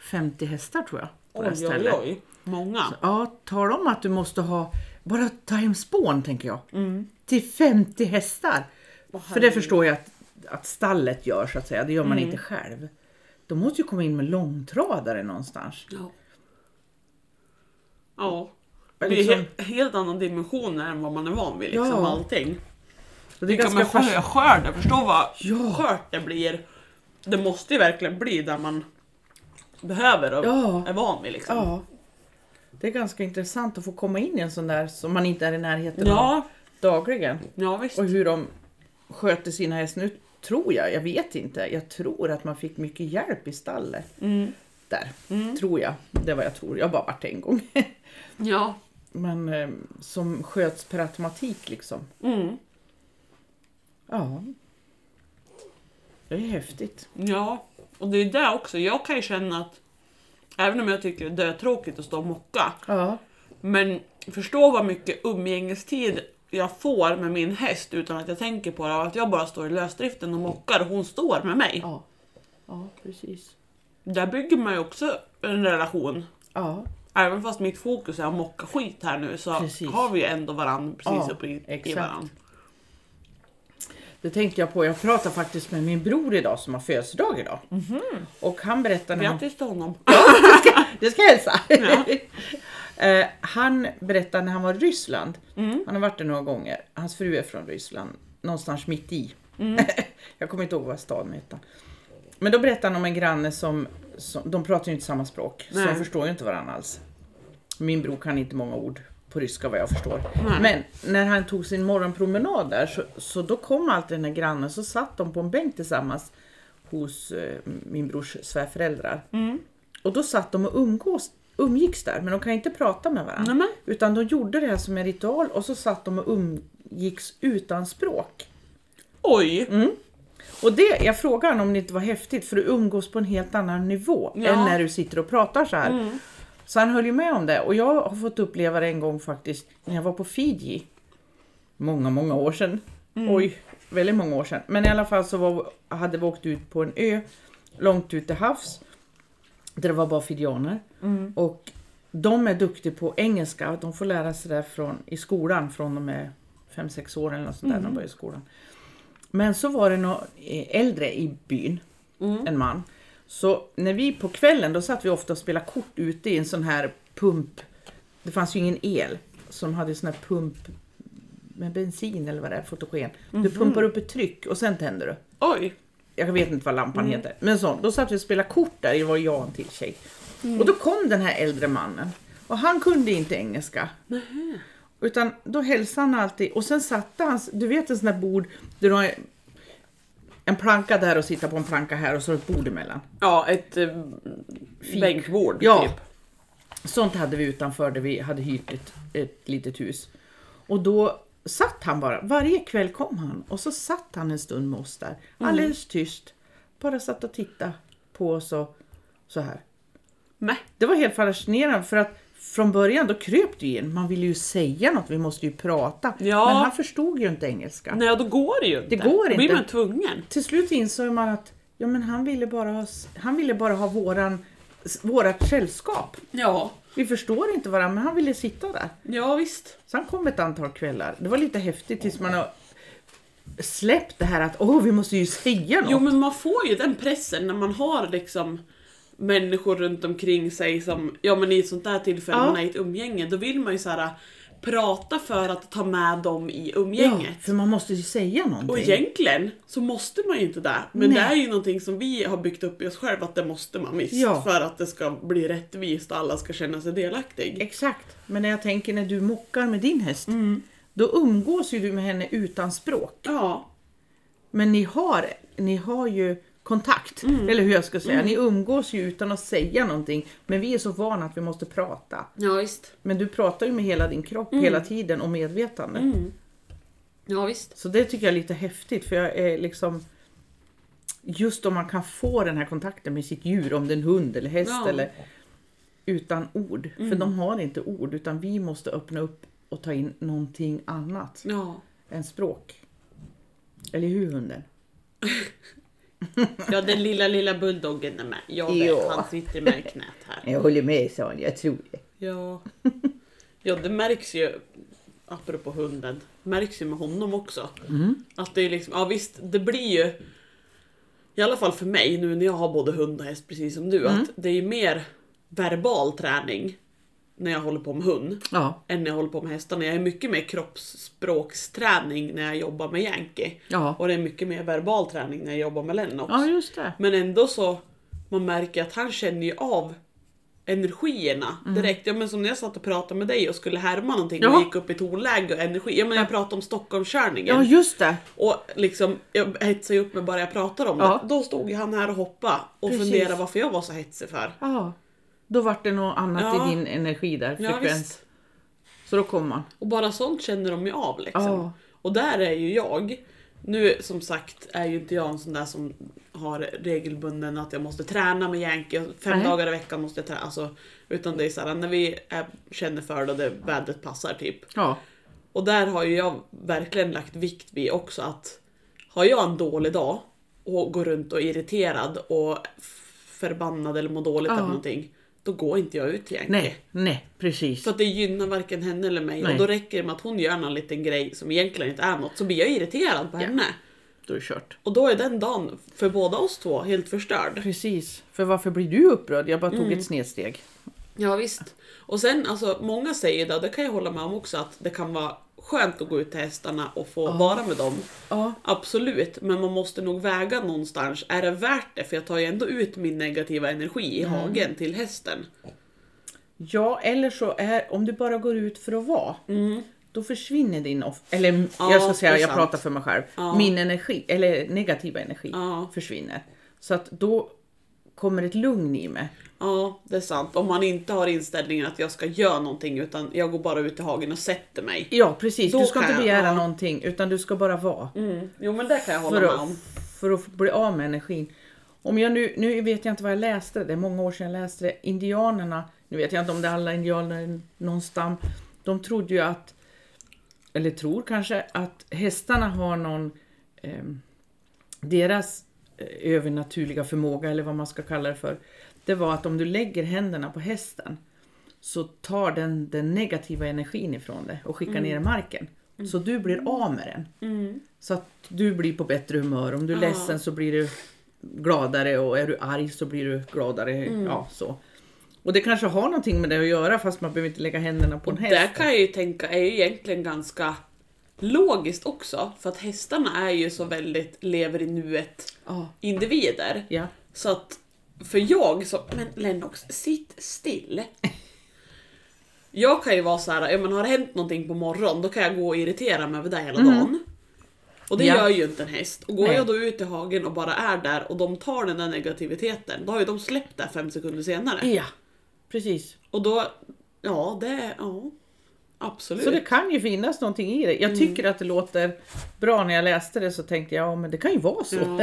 Speaker 2: 50 hästar tror jag. På det här
Speaker 1: oj oj
Speaker 2: stället.
Speaker 1: oj. Många.
Speaker 2: Ja, tala om att du måste ha, bara ta hem spån tänker jag.
Speaker 1: Mm.
Speaker 2: Till 50 hästar. För det förstår jag att, att stallet gör så att säga, det gör
Speaker 1: Mm.
Speaker 2: man inte själv. De måste ju komma in med långtradare någonstans.
Speaker 1: Ja. ja. Det
Speaker 2: Men
Speaker 1: är
Speaker 2: liksom-
Speaker 1: he- helt annan dimension än vad man är van vid liksom
Speaker 2: Ja.
Speaker 1: allting.
Speaker 2: Och det är
Speaker 1: Vilka
Speaker 2: ganska
Speaker 1: ganska
Speaker 2: fas-
Speaker 1: skör, skörden, förstå vad
Speaker 2: Ja.
Speaker 1: skört det blir. Det måste ju verkligen bli där man behöver och
Speaker 2: Ja.
Speaker 1: är van vid liksom.
Speaker 2: ja. Det är ganska intressant att få komma in i en sån där som man inte är i närheten av
Speaker 1: Ja,
Speaker 2: dagligen.
Speaker 1: ja visst.
Speaker 2: Och hur de sköter sina hästar. Nu tror jag, jag vet inte, jag tror att man fick mycket hjälp i stallet. Där, tror jag. Det var jag tror. Jag har bara varit en gång.
Speaker 1: Ja.
Speaker 2: Men eh, som sköts per automatik liksom.
Speaker 1: Mm.
Speaker 2: Ja. Det är häftigt.
Speaker 1: Ja, och det är det också. Jag kan ju känna att även om jag tycker det är tråkigt att stå och mocka
Speaker 2: Ja.
Speaker 1: Men förstå vad mycket umgängestid jag får med min häst utan att jag tänker på det. Och att jag bara står i lösdriften och mockar och hon står med mig.
Speaker 2: Ja, ja precis.
Speaker 1: Där bygger man ju också en relation.
Speaker 2: Ja,
Speaker 1: Även fast mitt fokus är att mocka skit här nu så
Speaker 2: Precis.
Speaker 1: har vi ju ändå varandra precis
Speaker 2: Ja,
Speaker 1: uppe i, i
Speaker 2: exakt.
Speaker 1: varandra.
Speaker 2: det tänkte jag på. Jag pratade faktiskt med min bror idag som har födelsedag idag. Och han berättade... när han-
Speaker 1: Grattis till honom.
Speaker 2: Du ska hälsa!
Speaker 1: Ja.
Speaker 2: Eh, han berättade när han var i Ryssland,
Speaker 1: Mm.
Speaker 2: han har varit där några gånger, hans fru är från Ryssland, någonstans mitt i.
Speaker 1: Mm.
Speaker 2: jag kommer inte ihåg vad staden heter. Men då berättade han om en granne som, som de pratar ju inte samma språk, så
Speaker 1: Nej.
Speaker 2: de förstår ju inte varandra alls. Min bror kan inte många ord på ryska vad jag förstår. Men när han tog sin morgonpromenad där så, så då kom alltid den här grannen, så satt de på en bänk tillsammans hos eh, min brors svärföräldrar. Och då satt de och umgås, umgicks där, men de kan inte prata med varandra.
Speaker 1: Nämen.
Speaker 2: Utan de gjorde det här som en ritual och så satt de och umgicks utan språk.
Speaker 1: Oj!
Speaker 2: Mm. Och det, jag frågar honom om det inte var häftigt för du umgås på en helt annan nivå
Speaker 1: Ja.
Speaker 2: än när du sitter och pratar så här. Så han höll ju med om det och jag har fått uppleva det en gång faktiskt när jag var på Fiji. Många, många år sedan. Oj, väldigt många år sedan. Men i alla fall så var, hade vi åkt ut på en ö långt ut till havs. Där det var bara fidianer. Och de är duktiga på engelska. De får lära sig det från, i skolan från de är 5-6 år eller något sånt där. De börjar i skolan. Men så var det någon äldre i byn, en man. Så när vi på kvällen, då satt vi ofta och spelade kort ute i en sån här pump. Det fanns ju ingen el. Som hade sån här pump med bensin eller vad det är, fotogen. Du pumpar upp ett tryck och sen tänder du
Speaker 1: Oj!
Speaker 2: jag vet inte vad lampan heter, men så, då satt vi och spelade kort där, det var jag och en till tjej. Och då kom den här äldre mannen och han kunde inte engelska. Utan då hälsade han alltid och sen satte han, du vet en sån där bord, där du har en planka där och sitta på en planka här och så har du ett bord emellan.
Speaker 1: Ja, ett eh, bänkbord
Speaker 2: Ja.
Speaker 1: typ.
Speaker 2: Sånt hade vi utanför där vi hade hyrt ett, ett litet hus. Och då satt han bara, varje kväll kom han och så satt han en stund med oss där.
Speaker 1: Mm.
Speaker 2: Alldeles tyst. Bara satt och tittade på oss och så här.
Speaker 1: Nej.
Speaker 2: Det var helt fascinerande för att från början då kröp det ju in. Man ville ju säga något, vi måste ju prata.
Speaker 1: Ja.
Speaker 2: Men han förstod ju inte engelska.
Speaker 1: Nej, och då går det ju inte.
Speaker 2: Det går
Speaker 1: Då blir
Speaker 2: inte.
Speaker 1: man tvungen.
Speaker 2: Till slut insåg man att ja, men han, ville bara ha, s- han ville bara ha våran, s- vårat sällskap.
Speaker 1: Ja,
Speaker 2: Vi förstår inte varandra, men han ville sitta där.
Speaker 1: ja visst.
Speaker 2: Så han kom ett antal kvällar. Det var lite häftigt tills man har släppt det här att åh, vi måste ju säga något.
Speaker 1: Jo men man får ju den pressen när man har liksom människor runt omkring sig som, ja men i ett sånt där tillfälle
Speaker 2: Ja.
Speaker 1: man är i ett umgänge, då vill man ju så här prata för att ta med dem i
Speaker 2: ja,
Speaker 1: umgänget.
Speaker 2: för man måste ju säga någonting.
Speaker 1: Och egentligen så måste man ju inte det. Men
Speaker 2: Nej.
Speaker 1: det är ju någonting som vi har byggt upp i oss själva att det måste man visst.
Speaker 2: Ja.
Speaker 1: För att det ska bli rättvist och alla ska känna sig delaktig.
Speaker 2: Exakt. Men när jag tänker när du mockar med din häst,
Speaker 1: Mm.
Speaker 2: då umgås ju du med henne utan språk.
Speaker 1: Ja,
Speaker 2: Men ni har, ni har ju kontakt,
Speaker 1: Mm.
Speaker 2: eller hur jag ska säga. Ni umgås ju utan att säga någonting. Men vi är så vana att vi måste prata.
Speaker 1: ja visst.
Speaker 2: Men du pratar ju med hela din kropp
Speaker 1: Mm.
Speaker 2: hela tiden och medvetande.
Speaker 1: Ja, visst.
Speaker 2: Så det tycker jag är lite häftigt för jag är liksom Just om man kan få den här kontakten med sitt djur, om det är en hund eller häst
Speaker 1: Ja. Mm.
Speaker 2: eller Utan ord, för de har inte ord utan vi måste öppna upp och ta in någonting annat
Speaker 1: Ja.
Speaker 2: än språk. Eller hur hunden?
Speaker 1: ja, den lilla, lilla bulldoggen är med. Jag vet,
Speaker 2: Ja.
Speaker 1: han sitter med i knät här.
Speaker 2: Jag håller med Sonja, jag tror det.
Speaker 1: Ja. ja, det märks ju, apropå hunden, märks ju med honom också.
Speaker 2: Mm.
Speaker 1: Att det är liksom, ja visst, det blir ju, i alla fall för mig nu när jag har både hund och häst precis som du,
Speaker 2: Mm.
Speaker 1: att det är ju mer verbal träning när jag håller på med hund
Speaker 2: Ja,
Speaker 1: än när jag håller på med hästarna. Jag är mycket mer kroppsspråksträning när jag jobbar med Yankee.
Speaker 2: ja.
Speaker 1: Och det är mycket mer verbal träning när jag jobbar med Lennox.
Speaker 2: ja just det.
Speaker 1: Men ändå så, man märker att han känner ju av energierna
Speaker 2: Mm.
Speaker 1: direkt. Ja men som när jag satt och pratade med dig och skulle härma någonting
Speaker 2: Ja.
Speaker 1: och gick upp i tonläge och energi. Ja men jag pratade om Stockholmskörningen.
Speaker 2: Ja just det.
Speaker 1: Och liksom, jag hetsar ju upp mig bara jag pratar om
Speaker 2: Ja.
Speaker 1: det. Då stod ju han här och hoppade och
Speaker 2: Precis.
Speaker 1: funderade varför jag var så hetsig för.
Speaker 2: Ja. Då vart det något annat
Speaker 1: Ja.
Speaker 2: i din energi där,
Speaker 1: Ja,
Speaker 2: frekvens.
Speaker 1: visst.
Speaker 2: så då kommer man.
Speaker 1: Och bara sånt känner de ju av liksom.
Speaker 2: Ja.
Speaker 1: Och där är ju jag. Nu som sagt är ju inte jag en sån där som har regelbunden att jag måste träna med Yankee. och Fem
Speaker 2: Nej.
Speaker 1: dagar i veckan måste jag träna. Alltså, utan det är såhär när vi är, känner för det och det vädret passar typ.
Speaker 2: Ja.
Speaker 1: Och där har ju jag verkligen lagt vikt vid också att har jag en dålig dag och går runt och är irriterad och f- förbannad eller mår dåligt
Speaker 2: Ja.
Speaker 1: eller någonting. Då går inte jag ut till Yankee.
Speaker 2: Nej, nej, precis.
Speaker 1: För att det gynnar varken henne eller mig.
Speaker 2: Nej.
Speaker 1: Och då räcker det med att hon gör någon liten grej som egentligen inte är något. Så blir jag irriterad på henne.
Speaker 2: Då är det kört.
Speaker 1: Och då är den dagen för båda oss två helt förstörd.
Speaker 2: Precis. För varför blir du upprörd? Jag bara tog ett snedsteg.
Speaker 1: Ja visst. Och sen alltså, många säger det, och det kan jag hålla med om också, att det kan vara skönt att gå ut till hästarna och få vara med dem.
Speaker 2: Ja.
Speaker 1: Absolut, men man måste nog väga någonstans. Är det värt det? För jag tar ju ändå ut min negativa energi i hagen till hästen.
Speaker 2: Ja, eller så är om du bara går ut för att vara. Då försvinner din, off- eller
Speaker 1: Ja,
Speaker 2: jag ska säga,
Speaker 1: det är
Speaker 2: jag
Speaker 1: sant.
Speaker 2: pratar för mig själv.
Speaker 1: Ja.
Speaker 2: Min energi, eller negativa energi,
Speaker 1: Ja.
Speaker 2: försvinner. Så att då kommer ett lugn i mig.
Speaker 1: Ja, det är sant. Om man inte har inställningen att jag ska göra någonting utan jag går bara ut i hagen och sätter mig.
Speaker 2: Ja, precis.
Speaker 1: Då
Speaker 2: du ska
Speaker 1: kan
Speaker 2: inte
Speaker 1: jag-
Speaker 2: begära
Speaker 1: ja.
Speaker 2: någonting, utan du ska bara vara.
Speaker 1: Mm. Jo men det kan jag hålla
Speaker 2: för,
Speaker 1: med
Speaker 2: att,
Speaker 1: om.
Speaker 2: för att bli av med energin. Om jag nu, nu vet jag inte vad jag läste, det är många år sedan jag läste det. Indianerna, nu vet jag inte om det är alla indianer i någon stam, de trodde ju att, eller tror kanske, att hästarna har någon, ehm, deras eh, övernaturliga förmåga eller vad man ska kalla det för, det var att om du lägger händerna på hästen så tar den den negativa energin ifrån dig och
Speaker 1: Mm.
Speaker 2: skickar ner i marken. Så du blir av med den. Så att du blir på bättre humör. Om du är
Speaker 1: Ja.
Speaker 2: ledsen så blir du gladare och är du arg så blir du gladare.
Speaker 1: Mm.
Speaker 2: Ja, så. Och det kanske har någonting med det att göra fast man behöver inte lägga händerna på en häst.
Speaker 1: Det kan jag ju tänka är ju egentligen ganska logiskt också. För att hästarna är ju så väldigt lever i nuet
Speaker 2: Ja.
Speaker 1: individer.
Speaker 2: Ja.
Speaker 1: Så att för jag som, men Lennox, sitt still. Jag kan ju vara så här, ja, men har det hänt någonting på morgonen då kan jag gå och irritera mig över det hela dagen. Och det
Speaker 2: Mm. Ja.
Speaker 1: gör ju inte en häst. Och går
Speaker 2: Nej.
Speaker 1: jag då ut i hagen och bara är där och de tar den där negativiteten, då har ju de släppt det fem sekunder senare.
Speaker 2: ja. precis.
Speaker 1: Och då, ja det är, ja. Absolut. Mm.
Speaker 2: Så det kan ju finnas någonting i det. Jag tycker att det låter bra när jag läste det så tänkte jag, ja men det kan ju vara så.
Speaker 1: ja.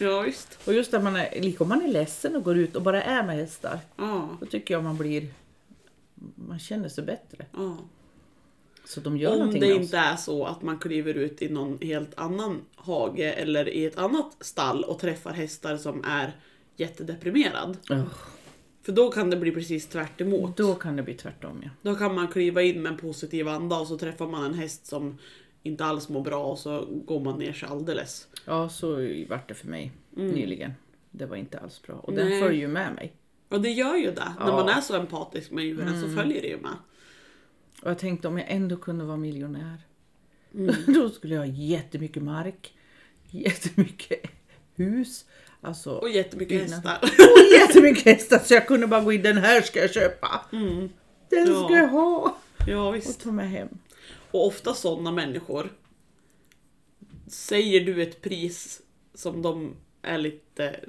Speaker 1: ja, visst.
Speaker 2: Och just att man är, lika om man är ledsen och går ut och bara är med hästar,
Speaker 1: Ja,
Speaker 2: då tycker jag man blir, man känner sig bättre.
Speaker 1: ja.
Speaker 2: Så de gör
Speaker 1: Om
Speaker 2: någonting alltså.
Speaker 1: det
Speaker 2: med oss.
Speaker 1: inte är så att man kliver ut i någon helt annan hage eller i ett annat stall och träffar hästar som är jättedeprimerad.
Speaker 2: Ja,
Speaker 1: För då kan det bli precis tvärt emot.
Speaker 2: då kan det bli tvärtom ja.
Speaker 1: Då kan man kliva in med en positiv anda och så träffar man en häst som inte alls mår bra och så går man ner sig alldeles.
Speaker 2: Ja, så vart det för mig nyligen. Det var inte alls bra. Och
Speaker 1: Mm. Nej.
Speaker 2: den följer ju med mig.
Speaker 1: Och det gör ju det. När
Speaker 2: Ja. Mm.
Speaker 1: man är så empatisk med djuren så följer det ju med.
Speaker 2: Och jag tänkte om jag ändå kunde vara miljonär.
Speaker 1: Mm.
Speaker 2: Då skulle jag ha jättemycket mark, jättemycket hus. Alltså,
Speaker 1: Och jättemycket
Speaker 2: Innan.
Speaker 1: hästar.
Speaker 2: och jättemycket hästar så jag kunde bara gå in, den här ska jag köpa.
Speaker 1: Mm.
Speaker 2: Den
Speaker 1: Ja.
Speaker 2: ska jag ha
Speaker 1: ja, visst.
Speaker 2: och ta med hem.
Speaker 1: Och ofta sådana människor säger du ett pris som de är lite,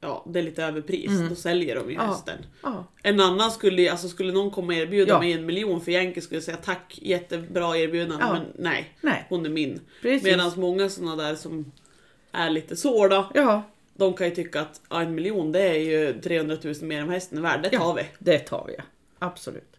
Speaker 1: ja det är lite överpris, då säljer de ju
Speaker 2: Mm. Ja.
Speaker 1: hästen.
Speaker 2: Ja.
Speaker 1: En annan skulle ju- alltså skulle någon komma och erbjuda
Speaker 2: Ja.
Speaker 1: mig en miljon för Yankee skulle jag säga tack, jättebra erbjudande
Speaker 2: Ja.
Speaker 1: men nej,
Speaker 2: Nej,
Speaker 1: hon är min.
Speaker 2: precis.
Speaker 1: Medan många sådana där som är lite så då,
Speaker 2: Ja,
Speaker 1: de kan ju tycka att ja, en miljon det är ju 300 000 mer än vad hästen är värd, det
Speaker 2: Ja.
Speaker 1: tar vi.
Speaker 2: det tar vi. Absolut.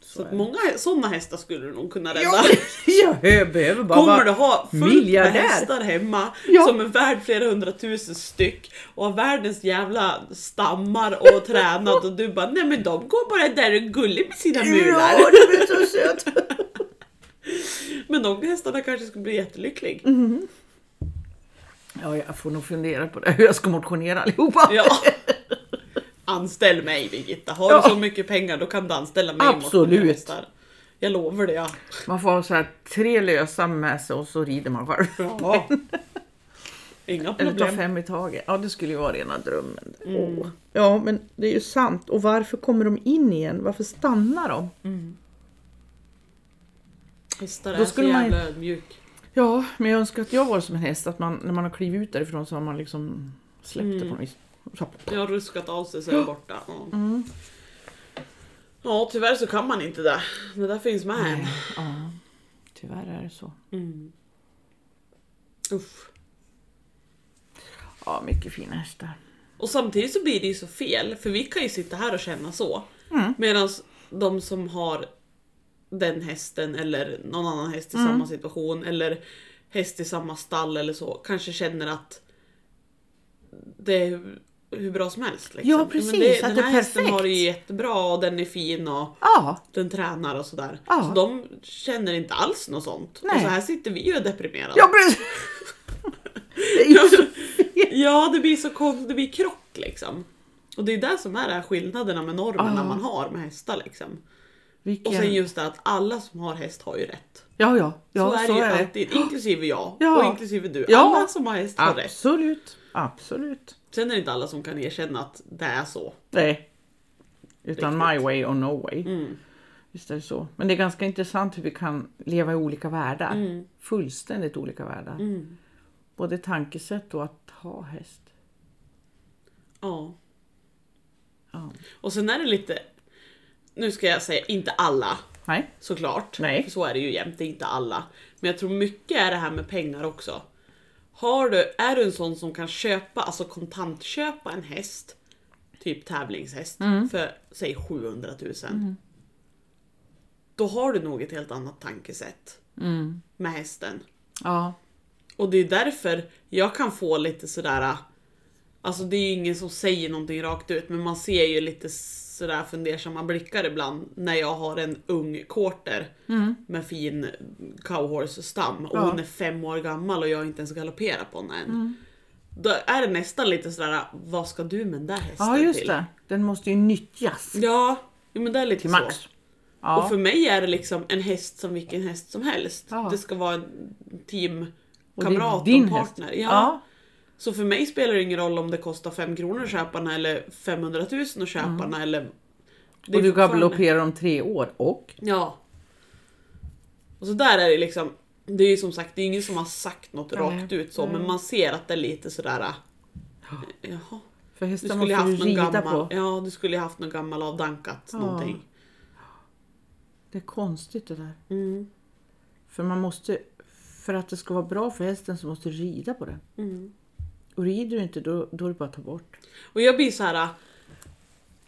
Speaker 1: Så att
Speaker 2: är det.
Speaker 1: många sådana hästar skulle du nog kunna rädda.
Speaker 2: Ja, jag behöver bara
Speaker 1: Kommer
Speaker 2: vara-
Speaker 1: du ha fullt med
Speaker 2: miljardär.
Speaker 1: hästar hemma
Speaker 2: Ja.
Speaker 1: som är värd flera hundratusen styck och har världens jävla stammar och tränat och du bara nej men de går bara där och är gulliga med sina mular.
Speaker 2: Ja, du är så söt.
Speaker 1: Men de hästarna kanske skulle bli jättelycklig.
Speaker 2: Mm. Ja, jag får nog fundera på det, hur jag ska motionera allihopa.
Speaker 1: Ja. Anställ mig Birgitta, har
Speaker 2: Ja.
Speaker 1: du så mycket pengar då kan du anställa mig. och motionera
Speaker 2: Absolut.
Speaker 1: hästar. Jag lovar det ja.
Speaker 2: Man får ha så här tre lösa med sig och så rider man själv.
Speaker 1: ja. Inga
Speaker 2: Eller ta
Speaker 1: problem. Mm.
Speaker 2: fem i taget. Ja, det skulle ju vara rena drömmen. Åh. Ja, men det är ju sant. Och varför kommer de in igen? Varför stannar de?
Speaker 1: Hästar
Speaker 2: Då
Speaker 1: är så
Speaker 2: skulle man ju-
Speaker 1: jävla ödmjuk.
Speaker 2: Ja, men jag önskar att jag var som en häst. Att man, när man har klivit ut därifrån så har man liksom släppt det
Speaker 1: Mm.
Speaker 2: på något vis. Så-
Speaker 1: Jag har ruskat av sig så är det borta. Ja.
Speaker 2: Mm.
Speaker 1: ja tyvärr så kan man inte det. Det där finns med Mm. än.
Speaker 2: Ja, tyvärr är det så.
Speaker 1: Uff.
Speaker 2: Ja, mycket fina hästar.
Speaker 1: Och samtidigt så blir det ju så fel för vi kan ju sitta här och känna så.
Speaker 2: Mm.
Speaker 1: Medan de som har den hästen eller någon annan häst
Speaker 2: Mm.
Speaker 1: i samma situation eller häst i samma stall eller så kanske känner att det är hur, hur bra som helst. Liksom.
Speaker 2: Ja,
Speaker 1: Men
Speaker 2: precis,
Speaker 1: det-
Speaker 2: att
Speaker 1: Den
Speaker 2: det är
Speaker 1: här hästen
Speaker 2: perfekt.
Speaker 1: har det ju jättebra och den är fin och
Speaker 2: Ja,
Speaker 1: den tränar och sådär.
Speaker 2: Ja.
Speaker 1: Så de känner inte alls något sånt. Och
Speaker 2: Nej.
Speaker 1: så här sitter vi ju och är deprimerade.
Speaker 2: ja precis. Det är ju så-
Speaker 1: ja, det blir så konstigt, det blir krock liksom. Och det är där som är det här skillnaderna med normerna
Speaker 2: Ja.
Speaker 1: man har med hästar liksom. Och
Speaker 2: Vilken...
Speaker 1: sen just det att alla som har häst har ju rätt.
Speaker 2: Ja, ja. ja
Speaker 1: så är det ju alltid, inklusive jag
Speaker 2: Ja.
Speaker 1: och inklusive du.
Speaker 2: Ja.
Speaker 1: Alla som har häst har rätt.
Speaker 2: Absolut. Absolut.
Speaker 1: Sen är det inte alla som kan erkänna att det är så.
Speaker 2: Nej. Utan
Speaker 1: Riktigt.
Speaker 2: my way or no way.
Speaker 1: Mm.
Speaker 2: Visst är det så. Men det är ganska intressant hur vi kan leva i olika världar.
Speaker 1: Mm.
Speaker 2: Fullständigt olika världar. Både tankesätt och att ha häst.
Speaker 1: Ja.
Speaker 2: Ja.
Speaker 1: Och sen är det lite, nu ska jag säga inte alla,
Speaker 2: Nej.
Speaker 1: Såklart.
Speaker 2: Nej.
Speaker 1: För så är det ju jämt, det är inte alla. Men jag tror mycket är det här med pengar också. Har du, är du en sån som kan köpa, alltså kontantköpa en häst, typ tävlingshäst, för säg 700 000. Då har du nog ett helt annat tankesätt med hästen.
Speaker 2: Ja.
Speaker 1: Och det är därför jag kan få lite sådär, alltså det är ju ingen som säger någonting rakt ut men man ser ju lite sådär fundersamma blickar ibland när jag har en ung quarter med fin cowhorse-stam och
Speaker 2: Mm. Ja. Mm.
Speaker 1: hon är fem år gammal och jag har inte ens galopperat på henne än. Då är det nästan lite sådär, vad ska du med den där hästen
Speaker 2: ja, just
Speaker 1: till?
Speaker 2: det. Den måste ju nyttjas
Speaker 1: Ja, jo, men det är lite
Speaker 2: till
Speaker 1: så.
Speaker 2: max. Ja.
Speaker 1: Och för mig är det liksom en häst som vilken häst som helst.
Speaker 2: Ja.
Speaker 1: Det ska vara en
Speaker 2: Och det är
Speaker 1: teamkamrat och,
Speaker 2: din häst.
Speaker 1: partner.
Speaker 2: Ja.
Speaker 1: Så för mig spelar det ingen roll om det kostar 5 kronor att köpa den eller 500 000 att köpa den eller... Det är
Speaker 2: Och du
Speaker 1: fortfarande-
Speaker 2: galopperar om tre år och?
Speaker 1: Ja. Och så där är det liksom, det är ju som sagt, det är ingen som har sagt något
Speaker 2: Nej,
Speaker 1: rakt ut så, men man ser att det är lite sådär... Äh, jaha.
Speaker 2: För
Speaker 1: Du
Speaker 2: hästar
Speaker 1: skulle ju
Speaker 2: måste
Speaker 1: haft
Speaker 2: ju
Speaker 1: någon
Speaker 2: rida
Speaker 1: gammal,
Speaker 2: på.
Speaker 1: ja, du skulle ju haft någon gammal avdankat
Speaker 2: Ja.
Speaker 1: någonting.
Speaker 2: Det är konstigt det där.
Speaker 1: Mm.
Speaker 2: För man måste, för att det ska vara bra för hästen så måste du rida på den.
Speaker 1: Mm.
Speaker 2: Och rider du inte då, då är det bara att ta bort.
Speaker 1: Och jag blir så här.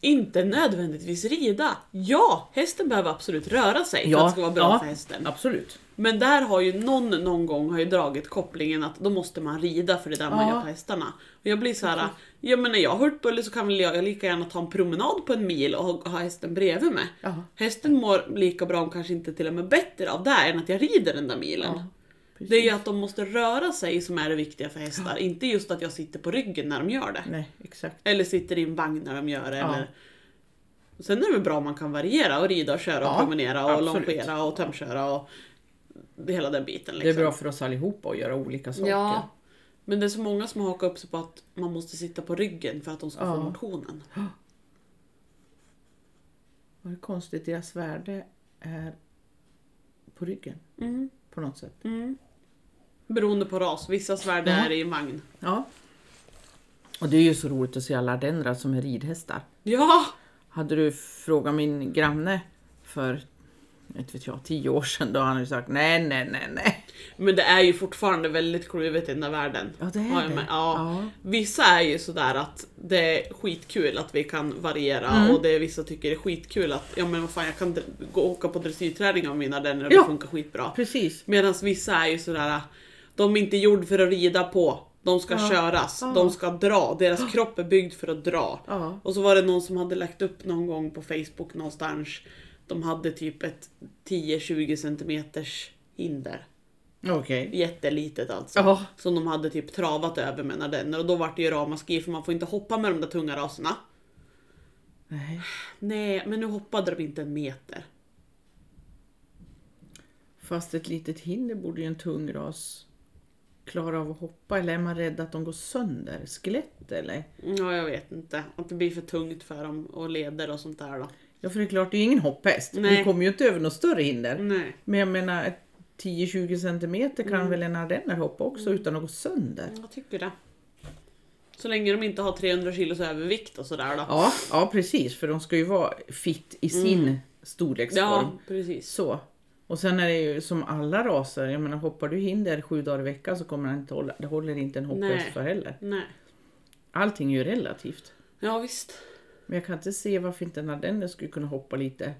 Speaker 1: Inte nödvändigtvis rida. Ja, hästen behöver absolut röra sig för att det ska vara bra
Speaker 2: ja,
Speaker 1: för hästen.
Speaker 2: Absolut.
Speaker 1: Men där har ju någon någon gång har ju dragit kopplingen att då måste man rida för det är där man
Speaker 2: Ja.
Speaker 1: gör på hästarna. Och jag blir så här, ja men när jag har hurtbulle så kan väl jag lika gärna ta en promenad på en mil och ha- ha hästen bredvid mig.
Speaker 2: Ja.
Speaker 1: Hästen mår lika bra, om kanske inte till och med bättre av det här än att jag rider den där milen.
Speaker 2: Ja,
Speaker 1: det är ju att de måste röra sig som är det viktiga för hästar, inte just att jag sitter på ryggen när de gör det.
Speaker 2: Nej, exakt.
Speaker 1: Eller sitter i en vagn när de gör det.
Speaker 2: Ja.
Speaker 1: Eller... Sen är det väl bra om man kan variera och rida och köra och
Speaker 2: Ja,
Speaker 1: promenera och
Speaker 2: absolut.
Speaker 1: longera och tömköra och hela den biten.
Speaker 2: Det
Speaker 1: Liksom.
Speaker 2: är bra för oss allihopa att göra olika saker.
Speaker 1: Ja. Men det är så många som hakar upp sig på att man måste sitta på ryggen för att de ska få
Speaker 2: Ja.
Speaker 1: motionen.
Speaker 2: Vad är konstigt, deras värde är på ryggen
Speaker 1: Mm.
Speaker 2: på något sätt.
Speaker 1: Mm. Beroende på ras, vissa svärd är i en vagn.
Speaker 2: Ja. Och det är ju så roligt att se alla ardenner som är ridhästar.
Speaker 1: Ja!
Speaker 2: Hade du frågat min granne för inte vet jag, tio år sedan, då hade han ju sagt nej, nej, nej, nej.
Speaker 1: Men det är ju fortfarande väldigt kluvet i den där världen.
Speaker 2: Ja, det är
Speaker 1: Har jag
Speaker 2: det.
Speaker 1: med- Ja.
Speaker 2: Ja.
Speaker 1: Vissa är ju sådär att det är skitkul att vi kan variera
Speaker 2: Mm.
Speaker 1: och det är vissa tycker är skitkul att ja men vad fan jag kan dr- gå och åka på dressyrträning med mina denner och det
Speaker 2: Ja.
Speaker 1: funkar skitbra.
Speaker 2: Precis.
Speaker 1: Medan vissa är ju sådär, de är inte gjord för att rida på, de ska köras, de ska dra, deras kropp är byggd för att dra.
Speaker 2: Ja.
Speaker 1: Och så var det någon som hade lagt upp någon gång på Facebook någonstans, de hade typ ett 10-20 centimeters hinder
Speaker 2: Okej.
Speaker 1: jättelitet alltså.
Speaker 2: Ja.
Speaker 1: Som de hade typ travat över med ardenner och då vart det ju ramaskri för man får inte hoppa med de där tunga raserna.
Speaker 2: Nej.
Speaker 1: Nej, men nu hoppade de inte en meter.
Speaker 2: Fast ett litet hinder borde ju en tung ras klara av att hoppa. Eller är man rädd att de går sönder? Skelett eller?
Speaker 1: Ja, jag vet inte. Att det blir för tungt för dem och leder och sånt där då.
Speaker 2: Ja, för det är klart, det är ju ingen hopphäst.
Speaker 1: Nej.
Speaker 2: Du kommer ju inte över något större hinder.
Speaker 1: Nej.
Speaker 2: Men jag menar, ett 10-20 centimeter kan väl en ardenner hoppa också utan att gå sönder?
Speaker 1: Jag tycker det. Så länge de inte har 300 kilos övervikt och sådär då.
Speaker 2: Ja, ja precis. För de ska ju vara fit i sin storleksform.
Speaker 1: Ja, precis.
Speaker 2: Så. Och sen är det ju som alla raser, jag menar hoppar du hinder sju dagar i veckan så kommer det inte hålla, det håller inte en
Speaker 1: Nej.
Speaker 2: hopphäst för heller.
Speaker 1: Nej.
Speaker 2: Allting är ju relativt.
Speaker 1: Ja, visst.
Speaker 2: Men jag kan inte se varför inte en ardenner skulle kunna hoppa lite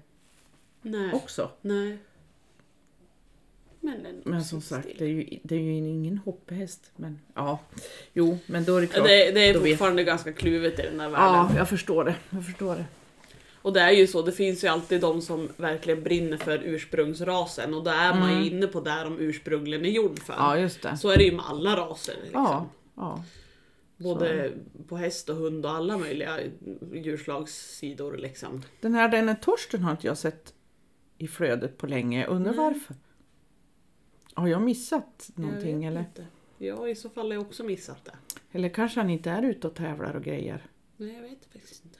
Speaker 1: Nej.
Speaker 2: också.
Speaker 1: Nej. Men, den
Speaker 2: Men
Speaker 1: också
Speaker 2: som
Speaker 1: still.
Speaker 2: sagt, det är ju, det är ju ingen hopphäst. Men ja, jo, men då är det klart.
Speaker 1: det, det är
Speaker 2: då vet-
Speaker 1: fortfarande ganska kluvet i den här världen.
Speaker 2: Ja, jag förstår det. Jag förstår det.
Speaker 1: Och det är ju så, det finns ju alltid de som verkligen brinner för ursprungsrasen och då är man ju inne på där de ursprungligen är gjord för.
Speaker 2: Mm. Ja, just det.
Speaker 1: Så är det ju med alla raser. Liksom.
Speaker 2: Ja, ja.
Speaker 1: Både på häst och hund och alla möjliga djurslagssidor. Liksom.
Speaker 2: Den här ardennen Torsten har inte jag sett i flödet på länge. Undrar varför? Har jag missat någonting
Speaker 1: Jag vet
Speaker 2: eller?
Speaker 1: inte. Ja, i så fall har jag också missat det.
Speaker 2: Eller kanske han inte är ute och tävlar och grejer.
Speaker 1: Nej, jag vet faktiskt inte.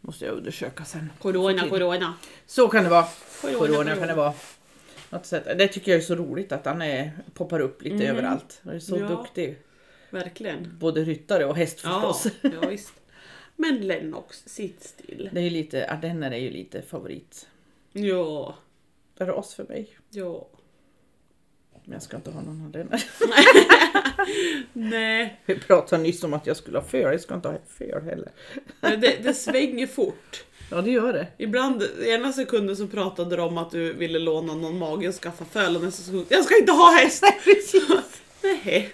Speaker 2: Måste jag undersöka sen.
Speaker 1: Corona, corona.
Speaker 2: Så kan det vara.
Speaker 1: Corona,
Speaker 2: Corona
Speaker 1: corona.
Speaker 2: kan det vara. Något sätt. Det tycker jag är så roligt att han är, poppar upp lite överallt. Han är så
Speaker 1: Mm. Ja.
Speaker 2: duktig.
Speaker 1: Verkligen.
Speaker 2: Både ryttare och häst
Speaker 1: Ja,
Speaker 2: förstås.
Speaker 1: ja, visst. Men Lennox, sitt still.
Speaker 2: Det är ju lite, ardenner är ju lite favorit
Speaker 1: Ja,
Speaker 2: ras för mig.
Speaker 1: ja.
Speaker 2: Men jag ska inte ha någon ardenner.
Speaker 1: Nej,
Speaker 2: Vi pratade nyss om att jag skulle ha föl. Jag ska inte ha föl heller.
Speaker 1: men det, det svänger fort.
Speaker 2: Ja, det gör det.
Speaker 1: Ibland, ena sekunden så pratade de om att du ville låna någon mage och skaffa föl och nästa sekund, jag ska inte ha häst! Nej.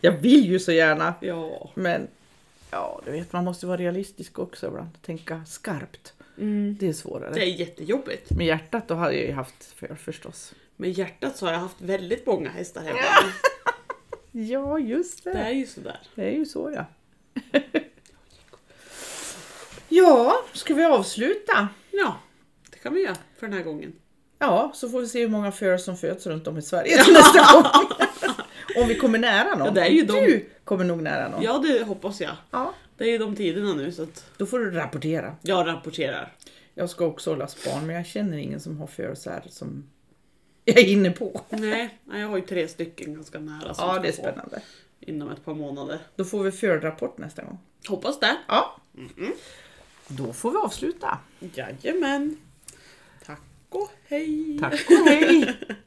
Speaker 2: Jag vill ju så gärna.
Speaker 1: Ja.
Speaker 2: Men ja, du vet, man måste vara realistisk också ibland. Tänka skarpt. Det är svårare.
Speaker 1: Det är jättejobbigt.
Speaker 2: Med hjärtat då hade jag ju haft föl förstås.
Speaker 1: Med hjärtat så har jag haft väldigt många hästar hemma.
Speaker 2: Ja, just
Speaker 1: Det är ju sådär.
Speaker 2: Det är ju så ja. ja, ska vi avsluta?
Speaker 1: Ja, det kan vi göra för den här gången.
Speaker 2: Ja, så får vi se hur många föl som föds runt om i Sverige till nästa gång. Om vi kommer nära någon.
Speaker 1: Ja, det är ju de-
Speaker 2: Du kommer nog nära någon.
Speaker 1: Ja, det hoppas jag.
Speaker 2: Ja,
Speaker 1: Det är ju de tiderna nu så att
Speaker 2: Då får du rapportera.
Speaker 1: jag rapporterar.
Speaker 2: Jag ska också hålla span men jag känner ingen som har föl så här som jag är inne på.
Speaker 1: Nej, nej, jag har ju tre stycken ganska nära. som
Speaker 2: Ja,
Speaker 1: ska
Speaker 2: det är
Speaker 1: få.
Speaker 2: spännande.
Speaker 1: inom ett par månader.
Speaker 2: Då får vi följadrapport nästa gång.
Speaker 1: Hoppas det.
Speaker 2: Ja. Då får vi avsluta.
Speaker 1: Jajamän. Tack och hej.
Speaker 2: Tá, Tack och hej!